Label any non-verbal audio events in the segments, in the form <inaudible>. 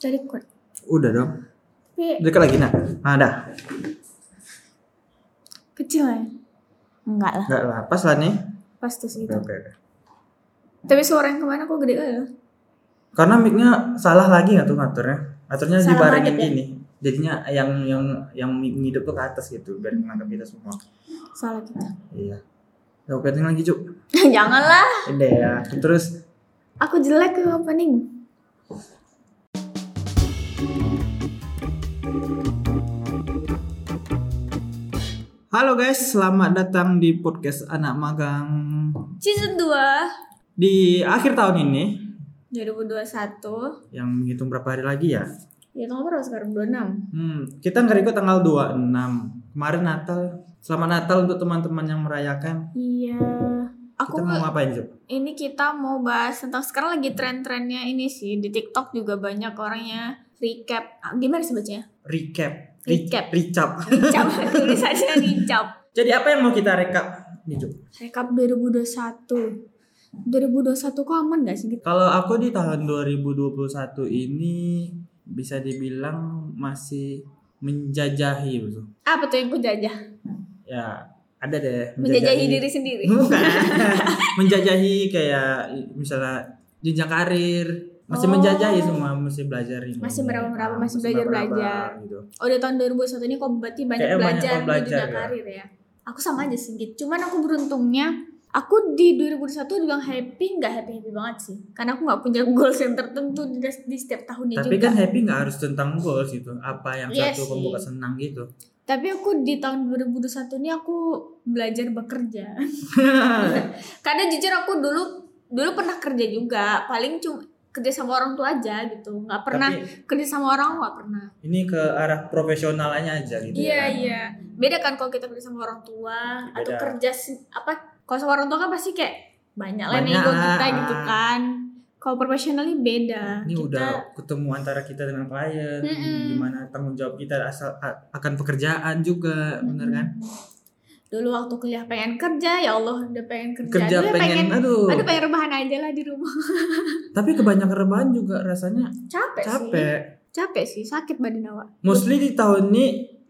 Udah record. Udah dong. Tapi Dekat lagi nah. Nah, dah. kecil ya? Enggak lah. Enggak lah, pas lah nih. Pas tuh segitu. Oke, oke, oke. Tapi suara yang kemana kok gede ya? Karena mic-nya salah lagi nggak tuh ngaturnya? Aturnya Salah dibarengin ngadep ya? gini. Jadinya yang yang yang mic ngidep tuh ke atas gitu biar nangkap kita semua. Salah kita. Iya. Udah opening lagi, Cuk. <laughs> Janganlah. Udah ya. Terus Aku jelek ya, ke opening. Halo guys, selamat datang di podcast Anak Magang. Season 2. Di akhir tahun ini 2021. yang menghitung berapa hari lagi ya? Ya tanggal berapa sekarang? 26. Hmm, kita ngerekod tanggal 26. Kemarin Natal. Selamat Natal untuk teman-teman yang merayakan. Iya. Aku Kita mau ke- ngapain, Cuk? ini kita mau bahas tentang sekarang lagi tren-trennya ini sih di TikTok juga banyak orangnya recap. Ah, Gimana sih bacanya? <laughs> recap Ri- Recap. recap <laughs> Recap. Tulis aja recap. jadi apa yang mau kita recap nih Jok? Rekap 2021. 2021 kok aman gak sih? gitu? kalau aku di tahun 2021 ini bisa dibilang masih menjajahi gitu Apa tuh yang ku jajah? ya ada deh Menjajahi diri sendiri. <laughs> bukan menjajahi kayak misalnya jenjang karir masih Oh. menjajahi semua masih belajar ini Masih meraba-meraba, Ah, masih belajar-belajar. meraba-raba gitu Oh, di tahun 2021 ini kok berarti banyak Kayaknya banyak belajar kok di belajar dunia ya. karir ya. Aku sama aja sih gitu. Cuman aku beruntungnya aku di 2021 juga happy nggak happy happy banget sih karena aku nggak punya <laughs> goals yang tertentu di, di setiap tahunnya tapi juga kan happy nggak harus tentang goals gitu apa yang Iya sih. satu pembuka senang gitu tapi aku di tahun 2021 ini aku belajar <laughs> bekerja karena jujur aku dulu dulu pernah kerja juga paling cuma kerja sama orang tua aja gitu nggak pernah tapi kerja sama orang nggak pernah ini ke arah profesionalnya aja gitu iya ya. iya beda kan kalau kita kerja sama orang tua atau Beda. kerja se- apa kalau sama orang tua kan pasti kayak banyak lah Banyak nego lah, kita gitu ah. kan kalau profesional ini beda Ini kita udah ketemu antara kita dengan klien, Mm-mm. gimana tanggung jawab kita asal a- akan pekerjaan juga, bener kan? Hmm. dulu waktu kuliah pengen kerja ya Allah udah pengen kerja, Kerja Dulu ya pengen, aduh. aduh pengen rebahan aja lah di rumah <laughs> Tapi kebanyakan rebahan juga rasanya capek, sih capek. capek sih sakit badan awak Mostly di tahun ini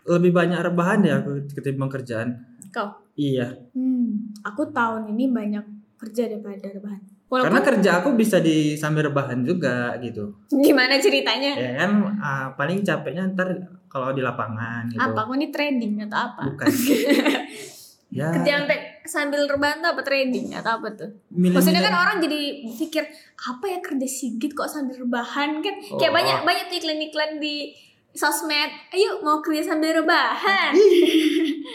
lebih banyak rebahan ya aku ketimbang kerjaan. Kau? Iya, Hmm, aku tahun ini banyak kerja daripada rebahan. karena Walaupun kerja aku bisa di sambil rebahan juga gitu. gimana ceritanya? Ya kan ah, paling capeknya ntar kalau di lapangan gitu. Apa? Aku ini trading atau apa? <laughs> Bukan. ya, Kerja sampai sambil rebahan tuh apa trading atau apa tuh? milih-milih. Maksudnya kan orang jadi pikir apa ya kerja sigit kok sambil rebahan kan? Kayak Oh. banyak banyak iklan-iklan di sosmed. Ayo mau kerja sambil rebahan. Iya.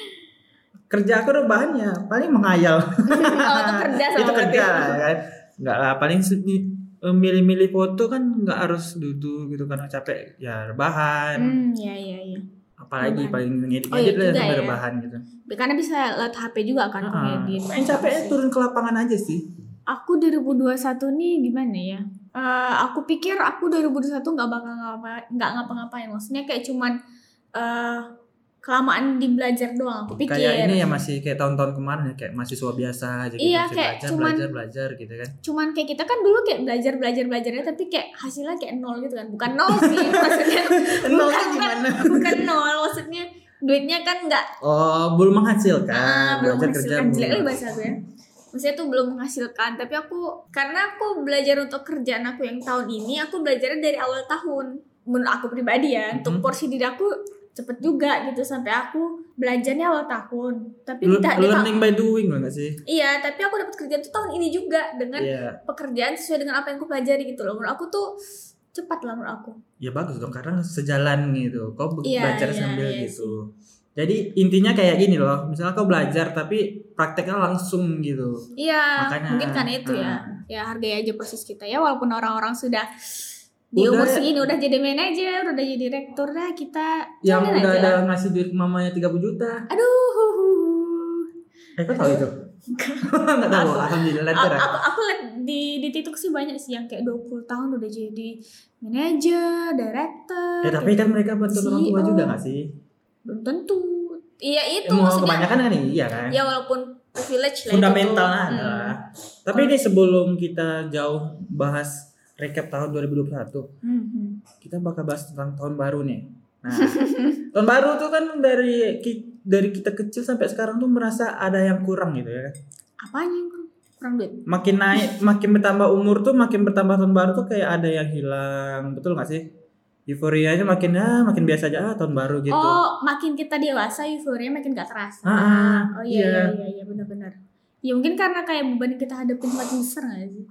kerja aku rebahan ya paling menghayal Kalau Oh, <laughs> itu kerja sama itu berarti. kerja lah kan nggak lah paling se- ni- eh, milih-milih foto kan nggak harus duduk gitu karena capek ya rebahan Hmm, ya ya ya. apalagi Rebahan. paling ngedit Oh, iya ngedit lah juga sampai ya. rebahan gitu Karena bisa lihat HP juga kan Heeh. ngedit. Paling capeknya turun ke lapangan aja sih aku 2021 nih gimana ya? Eh, aku pikir aku 2021 nggak bakal ngapa nggak ngapa-ngapain maksudnya kayak cuman eh kelamaan di belajar doang aku pikir kayak ini ya masih kayak tahun-tahun kemarin ya kayak mahasiswa biasa aja gitu Iya, Masih kayak belajar cuman- belajar belajar gitu <laughs> kan cuman kayak kita kan dulu kayak belajar belajar belajarnya tapi kayak hasilnya kayak nol gitu kan bukan nol sih <laughs> maksudnya nol tuh bukan- gimana bukan nol maksudnya duitnya kan nggak oh belum menghasilkan Ah, belum belajar kerja menghasilkan jelek lagi belum. bahasa ya. gue. Maksudnya tuh belum menghasilkan, tapi aku karena aku belajar untuk kerjaan aku yang tahun ini, aku belajarnya dari awal tahun. Menurut aku pribadi ya, untuk Mhm. porsi diri aku cepet juga gitu sampai aku belajarnya awal tahun. Tapi Lear- tidak learning by doing loh nggak sih Iya, tapi aku dapat kerjaan tuh tahun ini juga dengan iya pekerjaan sesuai dengan apa yang aku pelajari gitu loh. Menurut aku tuh cepat lah menurut aku. ya bagus dong karena sejalan gitu kau be- Iya, belajar iya, sambil iya gitu jadi intinya kayak gini loh misalnya kau belajar tapi prakteknya langsung gitu Iya, Makanya, mungkin karena itu ya. ah. Ya hargai aja proses kita ya, walaupun orang-orang sudah di Udah umur ya. segini udah jadi manajer, udah jadi direktur dah kita yang jalanin udah kan aja. ada ngasih duit ke mamanya 30 juta Aduh, hu, hu, hu. eh kau tahu itu <laughs> nggak tahu alhamdulillah ya. A- ter aku aku liat di di TikTok sih banyak sih yang kayak 20 tahun udah jadi manajer, direktur. ya tapi kan mereka bantu orang tua CEO. juga nggak sih belum tentu. Iya itu oh. mau maksudnya. kebanyakan kan iya kan Ya walaupun privilege lah itu fundamental tuh. lah Hmm. adalah. tapi ini sebelum kita jauh bahas recap tahun 2021 Mhm. kita bakal bahas tentang tahun baru nih. Nah, <laughs> tahun baru tuh kan dari ki- dari kita kecil sampai sekarang tuh merasa ada yang kurang gitu ya. kan. Apanya yang kurang? kurang duit? Makin <laughs> naik, makin bertambah umur tuh, makin bertambah tahun baru tuh kayak ada yang hilang, betul gak sih? Euforianya makin ya, makin biasa aja ah, tahun baru gitu. Oh, makin kita dewasa euforia makin gak terasa. Ah, ah, oh iya iya iya. iya, iya benar-benar. Ya mungkin karena kayak beban yang kita hadapi makin besar gak sih?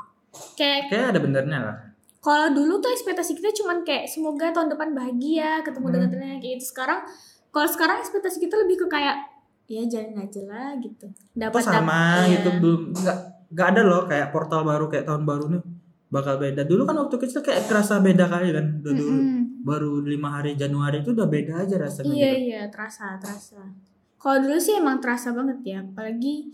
Kayak Kayak ada benernya lah. kalau dulu tuh ekspektasi kita cuman kayak semoga tahun depan bahagia, ketemu Hmm. dengan teman kayak gitu. Sekarang kalau sekarang ekspektasi kita lebih ke kayak ya jalan aja lah gitu. Atau Dapat sama dapat- gitu iya. belum nggak nggak ada loh kayak portal baru kayak tahun baru nih bakal beda. Dulu kan waktu kecil kayak kerasa beda kali kan. Dulu Mm-mm. baru lima hari Januari itu udah beda aja rasanya Iya gitu. iya terasa terasa. Kalau dulu sih emang terasa banget ya, apalagi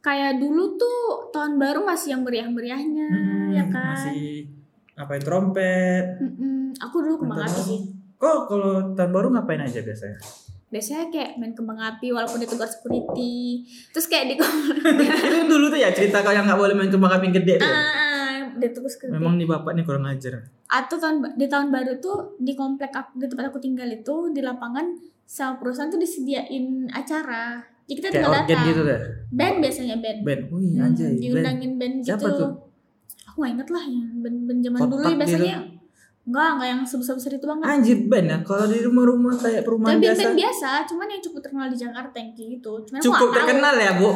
kayak dulu tuh tahun baru masih yang meriah-meriahnya, Hmm, ya kan. Masih ngapain trompet? Mm-mm. Aku dulu kembang Nonton api sih. Kok kalau tahun baru ngapain aja biasanya? <laughs> Biasanya kayak main kembang api walaupun ditegur security. Terus kayak di itu dulu tuh ya cerita kalau yang nggak boleh main kembang api gede tuh. ya? ah, ditegur security. Memang nih bapak nih kurang ajar. Atau tahun ba- di tahun baru tuh di komplek aku, di tempat aku tinggal itu di lapangan sama perusahaan tuh disediain acara. Jadi kita Kayak tinggal organ datang. gitu deh. Band biasanya band. Band. Wih Hmm, Oh iya, anjay. Band. diundangin band gitu. Siapa tuh? Aku gak inget lah yang band-band zaman Kotak dulu ya gitu. biasanya. Enggak, enggak yang sebesar-besar itu banget. Anjir band ya. Kalau di rumah-rumah kayak perumahan Tapi biasa. band-band biasa, cuman yang cukup terkenal di Jakarta yang kayak gitu. Cuman aku Cukup nggak tahu. terkenal ya bu.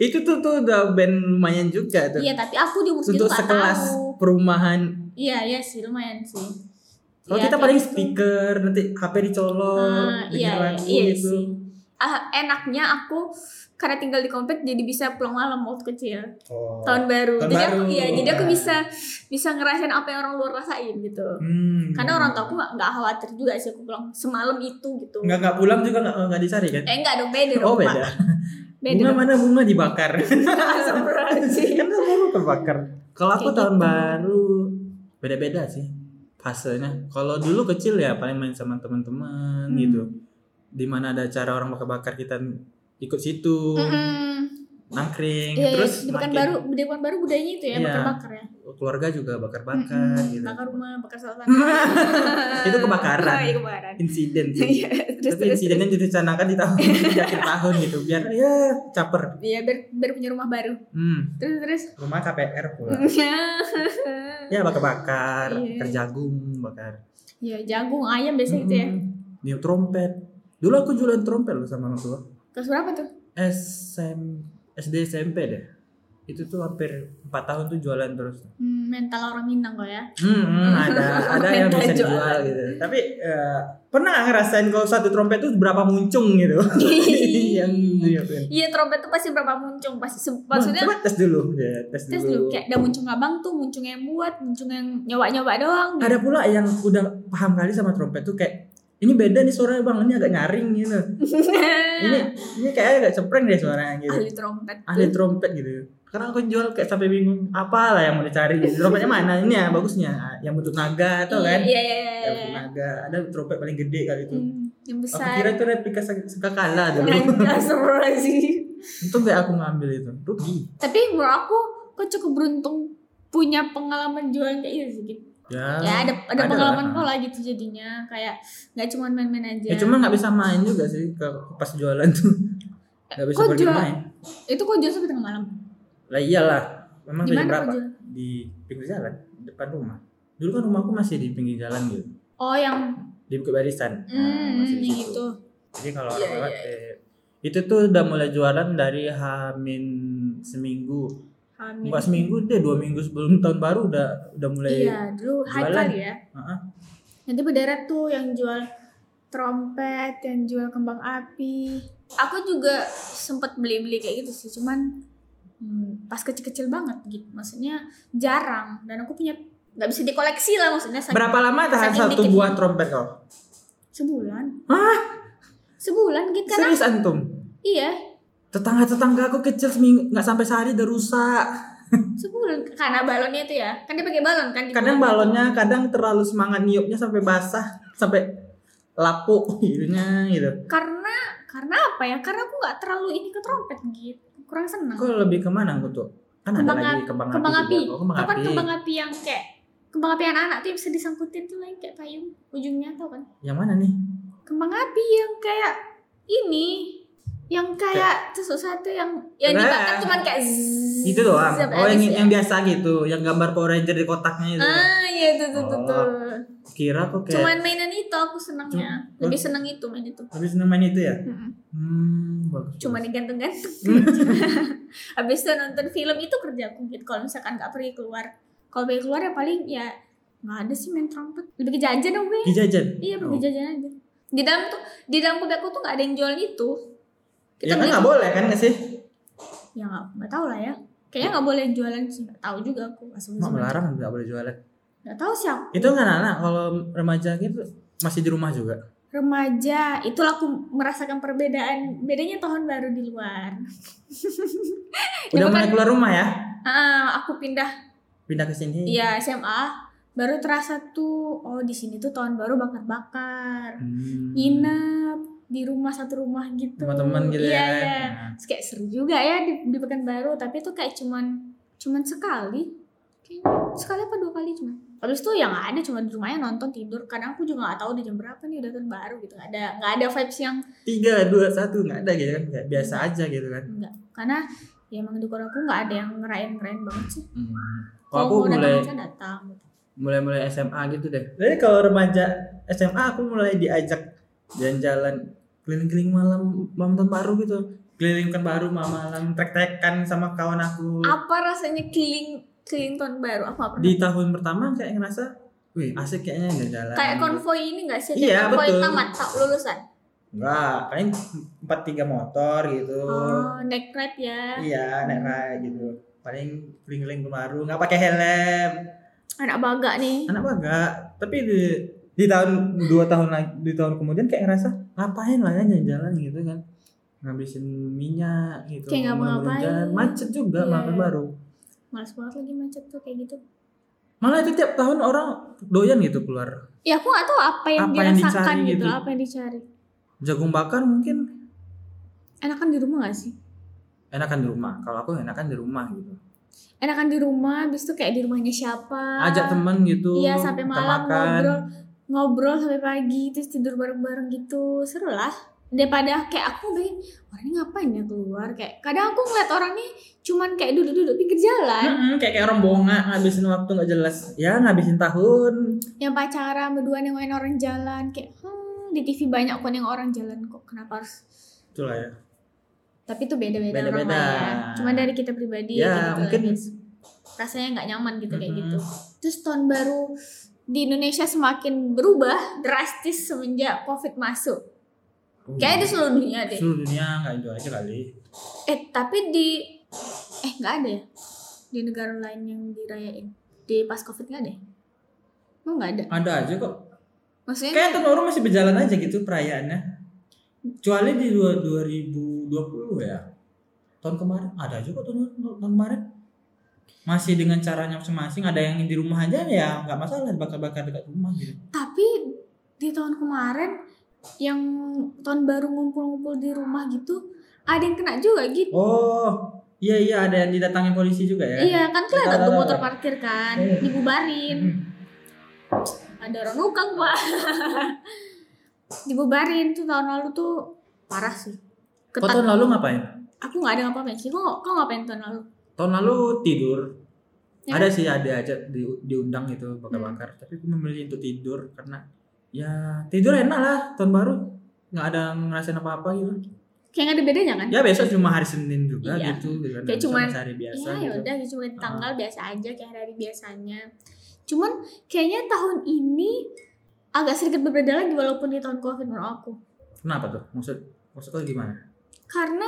Itu tuh tuh udah band lumayan juga tuh. Iya, tapi aku di umur segitu Gitu. Untuk gak sekelas tahu. perumahan. Iya, iya sih lumayan sih. Iya, Kalau Oh, kita kayak paling gitu. speaker, nanti HP Ah, dicolok, iya, dengerin iya, lagu iya gitu. sih. Ah, enaknya aku karena tinggal di komplek jadi bisa pulang malam waktu kecil Oh. tahun baru Tahun jadi aku baru. iya jadi aku bisa bisa ngerasain apa yang orang luar rasain gitu Hmm. karena orang tua aku nggak nggak khawatir juga sih aku pulang semalam itu gitu nggak nggak pulang juga nggak nggak dicari kan? eh enggak dong beda dong Oh beda. Pak. beda Bunga dong mana bunga <laughs> dibakar. Asam beracun. <laughs> Kan baru terbakar. Kalau aku Kayak tahun gitu. baru beda-beda sih fasenya. Kalau dulu kecil ya paling main sama teman-teman Hmm. gitu. Di mana ada acara orang bakar-bakar kita ikut situ, Mm-mm. nangkring. Hmm. Iya, Terus di pekan makin- baru di pekan baru budayanya itu ya Iya. bakar bakar ya keluarga juga bakar-bakar Mm-mm. gitu. Hmm, bakar rumah bakar selatan Itu kebakaran. oh, iya, kebakaran <laughs> Insiden sih. Iya, terus Tapi terus insidennya direncanakan di tahun di akhir tahun gitu biar ya caper. iya biar, biar punya rumah baru Hmm, terus terus rumah KPR pula. <laughs> ya ya bakar bakar Iya. bakar jagung bakar ya jagung ayam biasanya gitu ya Mm-mm. niup trompet dulu aku jualan trompet loh sama orang tua terus berapa tuh SM, SD SMP deh itu tuh hampir 4 tahun tuh jualan terus Hmm, mental orang Minang kok ya Hmm, hmm, ada <laughs> ada yang bisa Jualan. dijual gitu tapi eh, pernah ngerasain kalau satu trompet tuh berapa muncung <laughs> gitu yang niupin Iya trompet tuh pasti berapa muncung pasti se- Wah, maksudnya coba tes dulu ya tes, Terus dulu kayak ada muncung abang tuh muncung yang buat muncung yang nyoba-nyoba doang gitu. ada pula yang udah paham kali sama trompet tuh kayak ini beda nih suaranya bang ini agak nyaring gitu <laughs> ini Iya. ini kayaknya agak cempreng deh suaranya gitu ahli trompet ahli tuh. trompet gitu karena aku jual kayak sampai bingung apalah yang mau dicari <laughs> gitu. trompetnya mana ini ya bagusnya yang bentuk naga atau kan Iya iya iya, yang iya. bentuk naga ada trompet paling gede kali itu Hmm, Iya, yang aku besar. kira itu replika sekakala dulu <laughs> Nggak seru sih. <laughs> untung gak aku ngambil itu rugi Tapi menurut aku kok cukup beruntung punya pengalaman jualan kayak gitu sih, gitu. ya, Ya ada ada, ada pengalaman lah. pola gitu jadinya kayak nggak cuma main-main aja. ya cuma nggak bisa main juga sih ke pas jualan tuh nggak bisa Eh, Kok pergi jual- main Itu kok jual sampai tengah malam. lah iyalah memang Di dari mana kok berapa jual? di pinggir jalan depan rumah dulu kan rumahku masih di pinggir jalan gitu Oh yang di Bukit Barisan Nah, hmm, masih di yang situ. gitu. Jadi kalau Iya, orang lewat iya, eh, itu tuh udah mulai jualan dari Hamin seminggu. Amin. Enggak seminggu deh, dua minggu sebelum tahun baru udah udah mulai. Ah, Iya, dulu Haikal jualan. ya. Heeh. Nanti berderet tuh yang jual trompet, yang jual kembang api. Aku juga sempet beli-beli kayak gitu sih, cuman hmm, pas kecil-kecil banget gitu. Maksudnya jarang dan aku punya nggak bisa dikoleksi lah maksudnya saking- Berapa lama tahan saking satu dikit. buah trompet kau? Sebulan. Hah? Sebulan gitu karena Serius antum? iya, Tetangga-tetangga aku kecil seminggu nggak sampai sehari udah rusak. sebulan karena balonnya itu ya. Kan dia pakai balon kan. di bulan Kadang itu. balonnya kadang terlalu semangat niupnya sampai basah, sampai lapuk <laughs> gitunya gitu. Karena karena apa ya? Karena aku nggak terlalu ini ke trompet gitu. Kurang seneng. Kau lebih kemana aku tuh? Kan ada Kembang lagi api- kembang, Kembang api. juga. Oh, kembang Kapan api. kembang api yang kayak kembang api anak-anak tuh yang bisa disangkutin tuh yang kayak payung ujungnya tau kan Yang mana nih? kembang api yang kayak ini yang kayak tusuk satu yang yang Nah. dibakar cuman kayak zzz, Itu doang. sampai Oh, yang habis ya. yang biasa gitu, yang gambar Power Ranger di kotaknya itu. ah iya itu tuh tuh, Oh, tuh. Kira kok kayak cuman mainan itu aku senangnya Cuma- lebih seneng itu main itu habis main itu ya? Mm-mm. Hmm, bagus. Cuman digantung-gantung habis itu nonton film itu kerja aku gitu kalau misalkan nggak pergi keluar kalau pergi keluar ya paling ya nggak ada sih main trompet lebih ke jajan aku ya Dijajan. iya Oh. pergi jajan aja di dalam tuh di dalam kudaku tuh nggak ada yang jualan itu Ya kan beli- nggak boleh kan nggak sih? ya nggak nggak tahu lah ya kayaknya nggak boleh jualan sih nggak tahu juga aku nggak sebut Mak sebut. melarang nggak boleh jualan. nggak tahu sih aku Itu nggak anak kalau remaja gitu masih di rumah juga. remaja itulah aku merasakan perbedaan bedanya tahun baru di luar Udah bukan- mulai keluar rumah ya? ah aku pindah Pindah ke sini. ya SMA baru terasa tuh oh di sini tuh tahun baru bakar-bakar Hmm. nginep di rumah satu rumah gitu Teman-teman gitu iya, ya. iya. Terus kayak seru juga ya di, di Pekanbaru tapi itu kayak cuman cuman sekali kayaknya sekali apa dua kali cuma habis itu yang ada cuma di rumahnya nonton tidur kadang aku juga nggak tahu udah jam berapa nih udah tahun baru gitu nggak ada nggak ada vibes yang Tiga, dua, satu nggak ada gitu kan? Kayak biasa aja gitu kan? enggak karena ya emang di koran aku nggak ada yang ngerayain ngerayain banget sih Hmm. Kalau aku kalau mau mulai datang aja datang gitu. mulai-mulai SMA gitu deh. Jadi kalau remaja SMA aku mulai diajak jalan-jalan keliling-keliling malam malam tahun baru gitu. Keliling kan baru malam, malam tek-tekan sama kawan aku. apa rasanya keliling keliling tahun baru apa pernah Hmm. Di tahun pertama kayak ngerasa, wih asik kayaknya jalan-jalan. kayak konvoy ini nggak sih Iya, Kayak konvoy betul. tamat tak lulusan Enggak, paling empat tiga motor gitu. oh naik ride ya Iya, naik ride gitu. Paling keliling-keliling baru, nggak pakai helm. anak baga nih anak bangga tapi di di tahun dua tahun lagi di tahun kemudian kayak ngerasa ngapain lah ya jalan-jalan gitu kan ngabisin minyak gitu Kayak nggak mau Mudah-mudahan ngapain. jalan. macet juga Iya. makan baru males banget lagi macet tuh kayak gitu malah itu tiap tahun orang doyan gitu keluar ya aku nggak tahu apa yang Apa yang dirasakan dicari gitu, gitu. apa yang dicari jagung bakar mungkin enakan di rumah gak sih enakan di rumah kalau aku enakan di rumah gitu enakan di rumah habis itu kayak di rumahnya siapa ajak temen gitu Ah, iya sampai kita malam makan. ngobrol ngobrol sampai pagi terus tidur bareng-bareng gitu seru lah daripada kayak aku be orang ini ngapain ya keluar kayak kadang aku ngeliat orang nih cuman kayak duduk-duduk pinggir jalan Mm-mm, kayak kayak rombongan ngabisin waktu nggak jelas ya ngabisin tahun yang pacaran berdua nengokin orang jalan kayak hmm di TV banyak kok yang orang jalan kok kenapa harus itulah ya tapi itu beda-beda, orang Beda-beda. lain ya. Cuma dari kita pribadi gitu-gitu Ya, mungkin- aja sih. rasanya nggak nyaman gitu kayak Mm-mm. gitu. Terus tahun baru di Indonesia semakin berubah drastis semenjak Covid masuk. Kayaknya di seluruh dunia deh. seluruh dunia nggak itu aja kali Eh, tapi di eh nggak ada ya di negara lain yang dirayain. Di pas Covid nggak ada. ya? Emang nggak ada. ada aja kok Maksudnya Kayak tahun baru masih berjalan aja gitu perayaannya. Kecuali di dua- 2020 ya. Tahun kemarin ada aja kok tahun, tahun kemarin. Masih dengan caranya masing-masing, ada yang di rumah aja ya nggak masalah bakar-bakar dekat rumah gitu. tapi di tahun kemarin yang tahun baru ngumpul-ngumpul di rumah gitu ada yang kena juga gitu. Oh, iya iya ada yang didatangi polisi juga ya. Iya kan kelihatan Tahu, tuh tahu, motor tahu. parkir kan Iya. dibubarin. Hmm. Ada orang nukang pak. <laughs> dibubarin tuh tahun lalu tuh parah sih. Kok Ketat. tahun lalu ngapain? Aku nggak ada ngapa-ngapain sih. Kok kok ngapain tahun lalu? Tahun lalu tidur. Ya. Hmm. Ada sih ada aja di, diundang gitu bakar-bakar, tapi aku memilih untuk tidur karena ya tidur enak lah tahun baru nggak ada ngerasain apa-apa gitu. Kayak nggak ada bedanya kan? ya besok cuma hari Senin juga Iya. gitu gitu kan Kayak Besok cuman- masih hari biasa Iya ya gitu udah cuma di tanggal biasa aja kayak hari biasanya. Cuman kayaknya tahun ini agak sedikit berbeda lagi walaupun di tahun covid menurut aku. kenapa tuh maksud maksud lo gimana Karena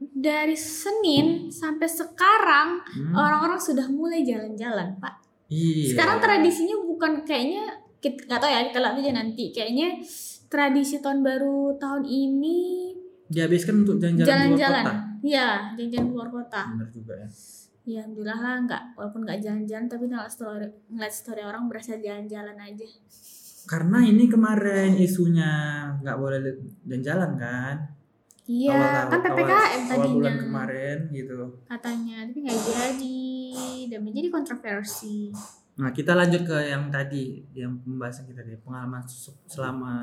dari Senin sampai sekarang Hmm. orang-orang sudah mulai jalan-jalan pak. Oh, iya Sekarang tradisinya bukan kayaknya kita nggak tahu ya kita lihat aja nanti. Kayaknya tradisi tahun baru tahun ini dihabiskan untuk jalan-jalan luar kota jalan-jalan. Iya, jalan-jalan keluar kota. bener juga ya Ya alhamdulillah lah nggak walaupun nggak jalan-jalan tapi ngeliat story ngeliat story orang berasa jalan-jalan aja. karena ini kemarin isunya nggak boleh jalan-jalan kan Iya, Awal- kan awal- PPKM awal bulan tadinya kemarin gitu katanya tapi nggak jadi dan menjadi kontroversi. Nah, kita lanjut ke yang tadi, yang pembahasan kita di pengalaman se- selama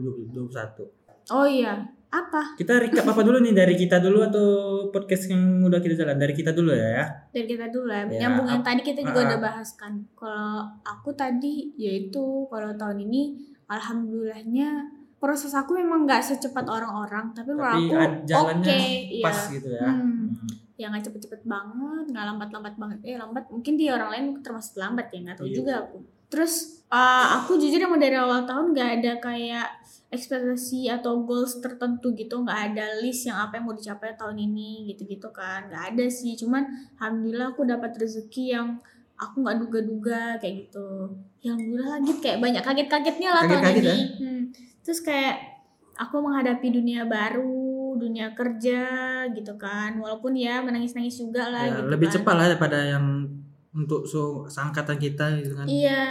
2021. Oh iya, apa? Kita recap apa dulu nih dari kita dulu atau podcast yang udah kita jalan dari kita dulu ya? ya? Dari kita dulu ya. Ya, Nyambung yang tadi kita juga ah. udah bahas kan. Kalau aku tadi yaitu kalau tahun ini alhamdulillahnya proses aku memang nggak secepat orang-orang, tapi, menurut Tapi aku ad- oke, jalannya iya. Pas gitu ya. Hmm. Hmm. ya nggak cepet-cepet banget nggak lambat-lambat banget eh lambat mungkin di orang lain termasuk lambat ya nggak tahu Iya. juga aku terus uh, aku jujur emang dari awal tahun nggak ada kayak ekspektasi atau goals tertentu gitu nggak ada list yang apa yang mau dicapai tahun ini gitu-gitu kan nggak ada sih cuman alhamdulillah aku dapat rezeki yang aku nggak duga-duga kayak gitu ya alhamdulillah lagi kayak banyak kaget-kagetnya lah tahun Kaget-kaget ya? ini Hmm. terus kayak aku menghadapi dunia baru dunia kerja gitu kan walaupun ya menangis-nangis juga lah Ya, gitu lebih kan. cepat lah daripada yang untuk so angkatan kita gitu kan. Iya,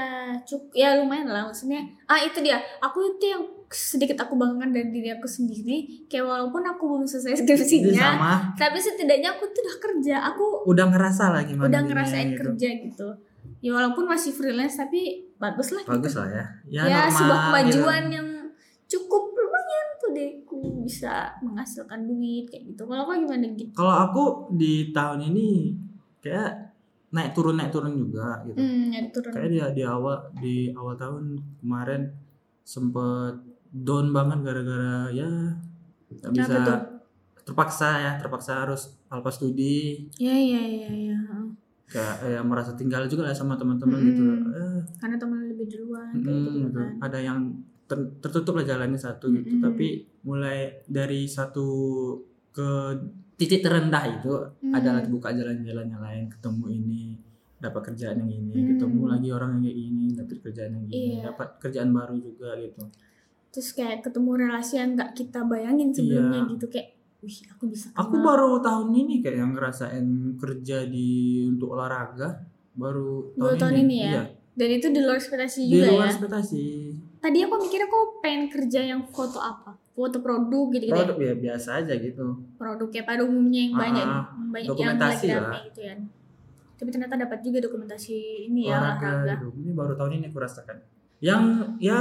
cuk ya lumayan lah maksudnya. Ah itu dia. Aku itu yang sedikit aku banggakan dari diri aku sendiri. Kayak walaupun aku belum selesai Jadi skripsinya, sama tapi setidaknya aku tuh udah kerja. Aku udah ngerasa lah gimana udah dunia ngerasain gitu. kerja gitu. Ya walaupun masih freelance tapi bagus lah. Bagus gitu. lah ya. Ya, normal sebuah kemajuan gitu. yang cukup lumayan tuh deh. Aku bisa menghasilkan duit kayak gitu. Kalau aku gimana gitu? Kalau aku di tahun ini kayak naik turun naik turun juga gitu. Hmm, ya turun. kayak di, di awal di awal tahun kemarin sempet down banget gara-gara ya nggak Kenapa bisa tuh? terpaksa ya terpaksa harus alpa studi Ya ya ya ya. kayak ya, merasa tinggal juga lah sama teman-teman gitu Mm-mm. Eh, Karena teman lebih duluan kayak mm, gitu gitu. kan. Hmm. ada yang ter- tertutup lah jalannya satu gitu Mm-mm. tapi mulai dari satu ke titik terendah itu Hmm. adalah buka jalan-jalan yang lain ketemu ini dapat kerjaan yang ini Hmm. ketemu lagi orang yang kayak ini dapat kerjaan yang ini Iya. dapat kerjaan baru juga gitu terus kayak ketemu relasi yang nggak kita bayangin sebelumnya Iya. gitu kayak wih aku bisa aku kenal." baru tahun ini kayak yang ngerasain kerja di untuk olahraga baru tahun, Baru tahun ini ya? Iya, dan itu di luar ekspektasi di juga luar ya ekspektasi tadi aku mikirnya kok pengen kerja yang foto apa foto produk gitu gitu produk ya biasa aja gitu ya produk kayak pada umumnya yang Ah, banyak banyak yang dokumentasi lagi lah. rame gitu ya tapi ternyata dapat juga dokumentasi ini ya olahraga olahraga gitu. ini baru tahun ini aku rasakan yang ya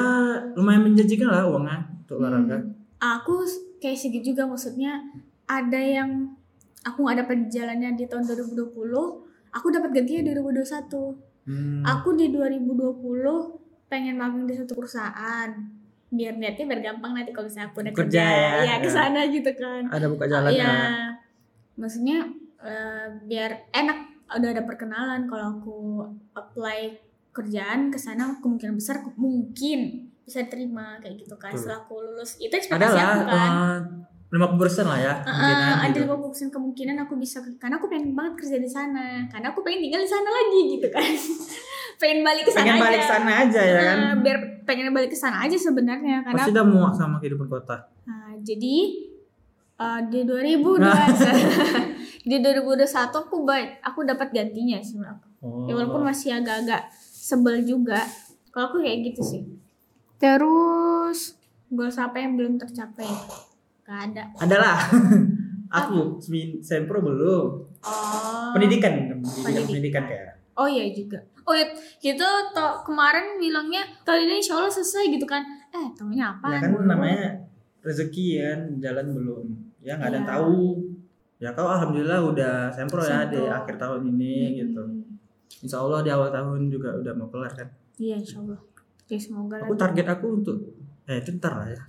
lumayan menjanjikan lah uangnya untuk olahraga Hmm. aku s- kayak segitu juga maksudnya ada yang aku nggak dapat jalannya di tahun 2020 aku dapat gantinya 2021 Hmm. Aku di 2020 pengen magang di satu perusahaan. Biar niatnya biar gampang nanti kalau misalnya aku udah Kerja ya. Iya, ke sana gitu kan. ada buka Iya. jalannya Maksudnya eh, biar enak udah ada perkenalan kalau aku apply kerjaan ke sana kemungkinan besar aku- mungkin bisa diterima kayak gitu kan Betul. setelah aku lulus itu ada ekspektasi lah eh, aku kan lima puluh persen lah ya kemungkinan Ah, ada gitu. 50% kemungkinan aku bisa ke- karena aku pengen banget kerja di sana karena aku pengen tinggal di sana lagi gitu kan <laughs> pengen balik ke sana pengen aja balik sana aja ya kan Ah, biar pengen balik ke sana aja sebenarnya karena pasti udah muak sama kehidupan kota Ah, jadi ah, di Nah. <laughs> 2021 di 2021 aku ba- aku dapat gantinya sebenarnya oh. Ya, walaupun masih agak-agak sebel juga kalau aku kayak gitu sih terus goals apa yang belum tercapai gak ada adalah <laughs> aku semin- sempro belum oh pendidikan pendidikan Pendidikan. pendidikan kayak Oh iya juga. Oh iya, gitu to- kemarin bilangnya tahun ini insya Allah selesai gitu kan. Eh tahunnya apa? ya kan namanya rezeki ya jalan belum ya nggak ada yang Iya. tahu ya kau alhamdulillah udah sempro ya di Sempro. akhir tahun ini Hmm. gitu Insya Allah di awal tahun juga udah mau kelar kan Iya insya Allah. Oke semoga aku lah. target aku untuk eh itu ntar lah ya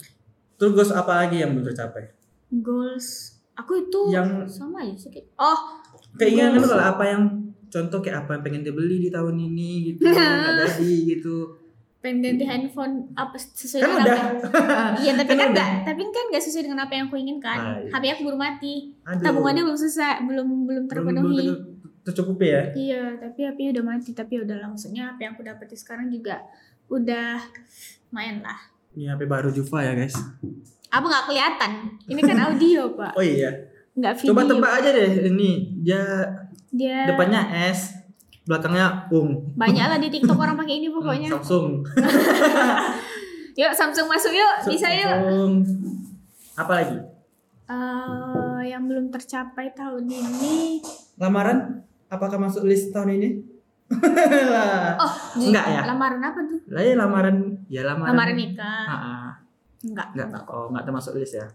terus goals apa lagi yang belum tercapai Goals. Aku itu Yang- sama aja sih. kayak- Oh keinginan Goals. lu lah apa yang contoh kayak apa yang pengen dibeli di tahun ini <laughs> gitu nggak jadi gitu pengen ganti handphone apa sesuai kan dengan udah <laughs> apa? Iya tapi kan Kan udah. nggak, tapi kan nggak sesuai dengan apa yang aku inginkan. Ah, iya. HP aku baru mati. Aduh, Tabungannya belum selesai, belum belum belum- belum terpenuhi. ter- tercukupi ya Iya, tapi apinya udah mati, tapi udah lah maksudnya apa yang aku dapetin sekarang juga udah main lah. ini HP baru Juva ya guys Apa nggak kelihatan? Ini kan audio <laughs> pak, oh iya nggak video. coba tebak aja deh ini Ya, dia Dia depannya S belakangnya Ung <laughs> banyak lah di TikTok orang pakai ini pokoknya. Hmm, Samsung Yuk Samsung masuk yuk, bisa yuk. Samsung apa lagi Eh, yang belum tercapai tahun ini lamaran apakah masuk list tahun ini <laughs> lah Oh, ju- Enggak ya? Lamaran apa tuh? Lah, ya lamaran ya lamaran Lamaran nikah. Ah, ah. Enggak. nggak oh nggak termasuk list ya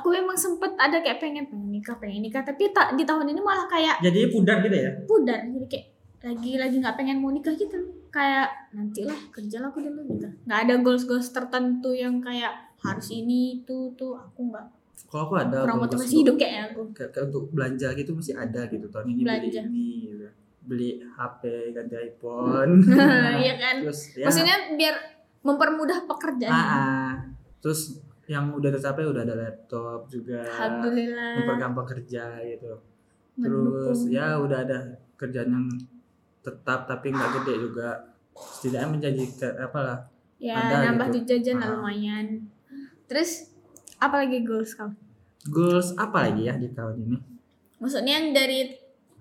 Aku memang sempet ada kayak pengen pengen nikah, pengen nikah, tapi tak di tahun ini malah kayak jadi pudar gitu ya pudar jadi kayak lagi lagi nggak pengen mau nikah gitu kayak nantilah kerjalah aku dulu gitu nggak ada goals goals tertentu yang kayak harus ini itu tuh aku nggak kalau aku ada kurang bungkus motivasi hidup kayaknya aku <laughs> kayak, kayak untuk belanja gitu masih ada gitu tahun ini Belanja. beli ini gitu. beli HP ganti iPhone <laughs> iya kan terus ya maksudnya biar mempermudah pekerjaan ah, ah. terus yang udah tercapai udah ada laptop juga alhamdulillah mempergampang kerja gitu Nah, mendukung. terus ya udah ada kerjaan yang tetap tapi nggak gede juga setidaknya menjanjikan apalah ya ada nambah gitu. duit jajan lah Ah. lumayan terus apalagi goals kamu goals apa lagi ya di tahun ini maksudnya yang dari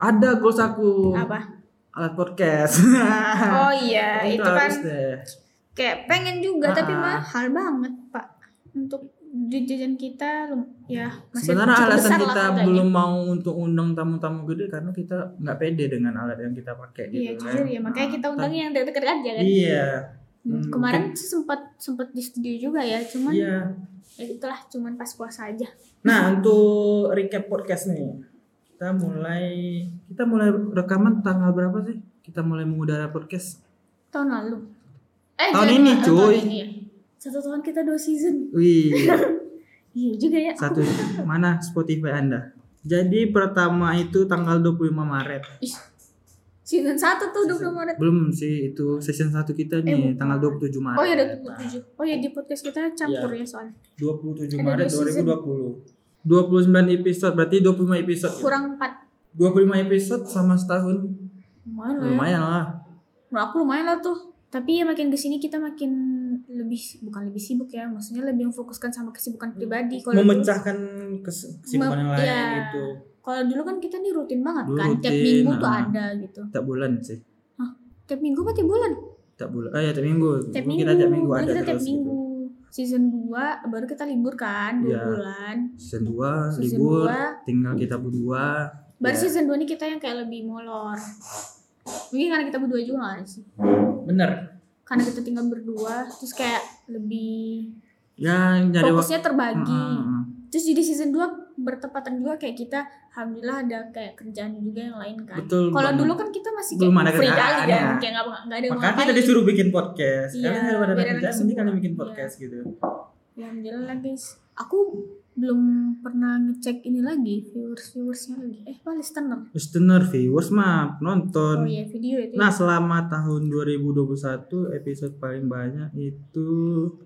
ada goals aku <laughs> apa alat podcast oh iya <laughs> itu, kan harus deh. kayak pengen juga tapi Ah. mahal banget pak untuk duit jajan kita lum- ya masih Sebenarnya cukup alasan besar lah Iya, kita kayaknya. belum mau untuk undang tamu-tamu gede karena kita nggak pede dengan alat yang kita pakai gitu. iya jujur ya makanya kita undang undangnya yang deket-deket aja kan Iya, Hmm, Hmm, kemarin sempat sempat di studio juga ya cuman iya. ya itulah cuman pas puasa aja Nah untuk recap podcast nih, kita mulai kita mulai rekaman tanggal berapa sih? Kita mulai mengudara podcast. tahun lalu eh Tahun jadi- ini, eh, tahun cuy. ini ya. satu tahun kita dua season Wih, iya juga ya aku- satu mana Spotify Anda? Jadi pertama itu tanggal 25 Maret. Ih, season satu tuh 20 Maret Belum sih itu season 1 kita bukan. nih tanggal 27 Maret. Iya. oh ya udah 27 oh ya di podcast kita campur ya soalnya 27 Ada Maret dua season. 2020. 29 episode berarti 25 episode. ya? kurang 4 25 episode sama setahun. lumayan lah ya. Lumayan lah. Menurut aku lumayan lah tuh. Tapi ya makin kesini kita makin lebih bukan lebih sibuk ya, maksudnya lebih memfokuskan sama Hmm. kesibukan pribadi. Kalau dulu, Memecahkan kes- kesibukan yang lain Iya. gitu. kalau dulu kan kita nih rutin banget Dulu kan, tiap rutin, minggu tuh ah. ada gitu. Tiap bulan sih. Tiap minggu apa tiap bulan? Tiap bulan. Ah ya tiap minggu. Tiap Dulu minggu. Kita tiap minggu Dulu ada kita tiap terus minggu. gitu. Season 2 baru kita libur kan 2 Iya. bulan. Season 2 Season libur, dua. tinggal kita berdua. Baru Ya. season 2 ini kita yang kayak lebih molor. Mungkin karena kita berdua juga gak sih? Bener. Karena kita tinggal berdua terus kayak lebih Ya nyari Hmm. waktu. fokusnya terbagi. Heeh, heeh. Terus jadi season 2 bertepatan juga kayak kita alhamdulillah ada kayak kerjaan juga yang lain kan. Betul. Kalau banget. dulu kan kita masih Belum kayak ada free kerjaan, kali kan, ya. kayak nggak nggak ada yang Makanya ngapain. kita disuruh bikin podcast. Iya, Kalian daripada biar Iya. ada kerjaan, mending kalian bikin kesibukan. podcast gitu. Ya alhamdulillah lah, guys. Aku belum pernah ngecek ini lagi viewers viewersnya lagi. Eh apa listener? Listener, viewers mah penonton. Oh iya video itu. Nah, selama tahun 2021 episode paling banyak itu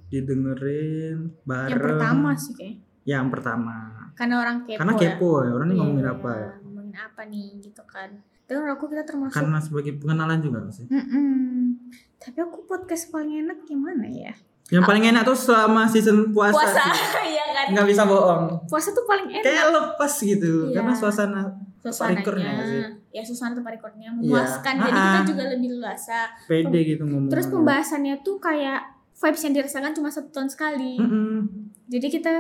didengerin bareng yang pertama sih kayak. Yang pertama. Karena orang kepo. Karena kepo ya, orang ini Iya, ngomongin apa ya. Ngomongin apa nih gitu kan. Tapi menurut aku kita termasuk. Karena sebagai pengenalan juga nggak sih. Mm-mm. Tapi aku podcast paling enak gimana ya? Yang paling enak tuh selama season puasa. Puasa, sih. <laughs> ya kan. Nggak bisa bohong. Puasa tuh paling enak. Kayak lepas gitu, Iya. karena suasana Recordnya suasananya nggak sih? Iya. ya suasana tempat recordnya memuaskan jadi Ah-ah. kita juga lebih luasa pede gitu ngomong. terus pembahasannya tuh kayak vibes yang dirasakan cuma satu tahun sekali Hmm. Mm-mm. jadi kita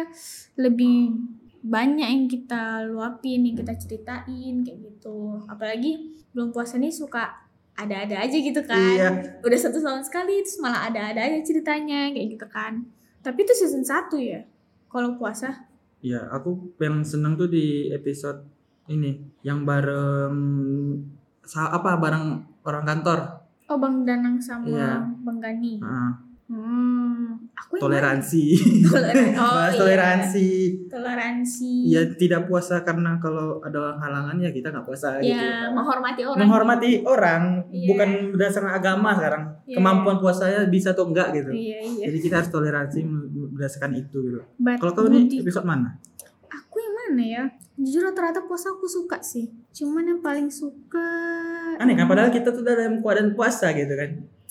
lebih banyak yang kita luapin yang kita ceritain kayak gitu apalagi belum puasa nih suka ada-ada aja gitu kan Iya. udah satu tahun sekali terus malah ada-ada aja ceritanya kayak gitu kan tapi itu season satu ya kalau puasa Ya, aku yang seneng tuh di episode ini yang bareng sa- apa bareng orang kantor. oh bang Danang sama Iya. bang Gani Heeh. hmm aku yang mana? Nah, toleransi. <laughs> <laughs> Toleran- oh, bahas iya. Hmm. toleransi toleransi ya tidak puasa karena kalau ada halangan ya kita nggak puasa Ya, gitu menghormati orang menghormati orang Iya. bukan berdasarkan agama sekarang Iya. kemampuan puasanya bisa atau enggak gitu iya iya jadi kita harus toleransi berdasarkan itu gitu Bat kalau kau ini budi. episode mana aku yang mana ya jujur rata-rata puasa aku suka sih cuman yang paling suka aneh kan padahal kita tuh dalam keadaan puasa gitu kan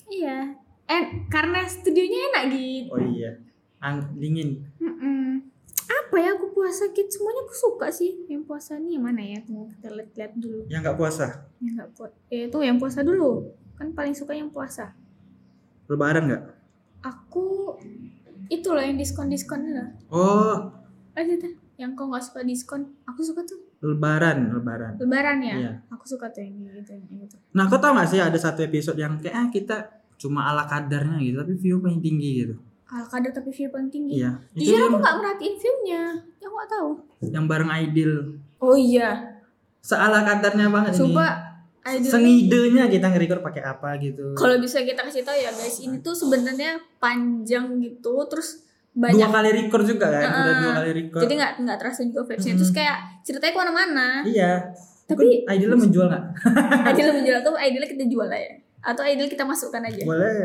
iya eh karena studionya enak gitu oh iya Ang- dingin Mm-mm. apa ya aku puasa gitu semuanya aku suka sih yang puasa nih yang mana ya Tunggu, kita lihat-lihat dulu yang nggak puasa yang nggak puas ya itu yang puasa dulu kan paling suka yang puasa lebaran nggak aku itu loh yang diskon diskon loh oh aja dah yang kau nggak suka diskon aku suka tuh Lebaran, Lebaran. Lebaran ya. Iya. Aku suka tuh yang gitu yang gitu. Nah, kau tau gak sih ada satu episode yang kayak ah, kita cuma ala kadarnya gitu, tapi view paling tinggi gitu. Kalau kadar tapi view paling tinggi. Iya. Jujur Itu dia aku nggak merhatiin viewnya. Ya aku nggak tahu. yang bareng Aidil. Oh iya. Seala kadarnya banget ini. Coba idol Sengidenya kita nge-record pakai apa gitu. Kalau bisa kita kasih tahu ya guys, ini tuh sebenarnya panjang gitu, terus Dua banyak. kali record juga kan, udah dua Ah, kali record. Jadi nggak nggak terasa juga vibesnya. Mm. Terus kayak ceritanya <laughs> kemana-mana. Iya. Tapi- Mungkin Aidil menjual nggak? Idol menjual tuh idol kita jual lah ya. Atau idol kita masukkan aja. Boleh.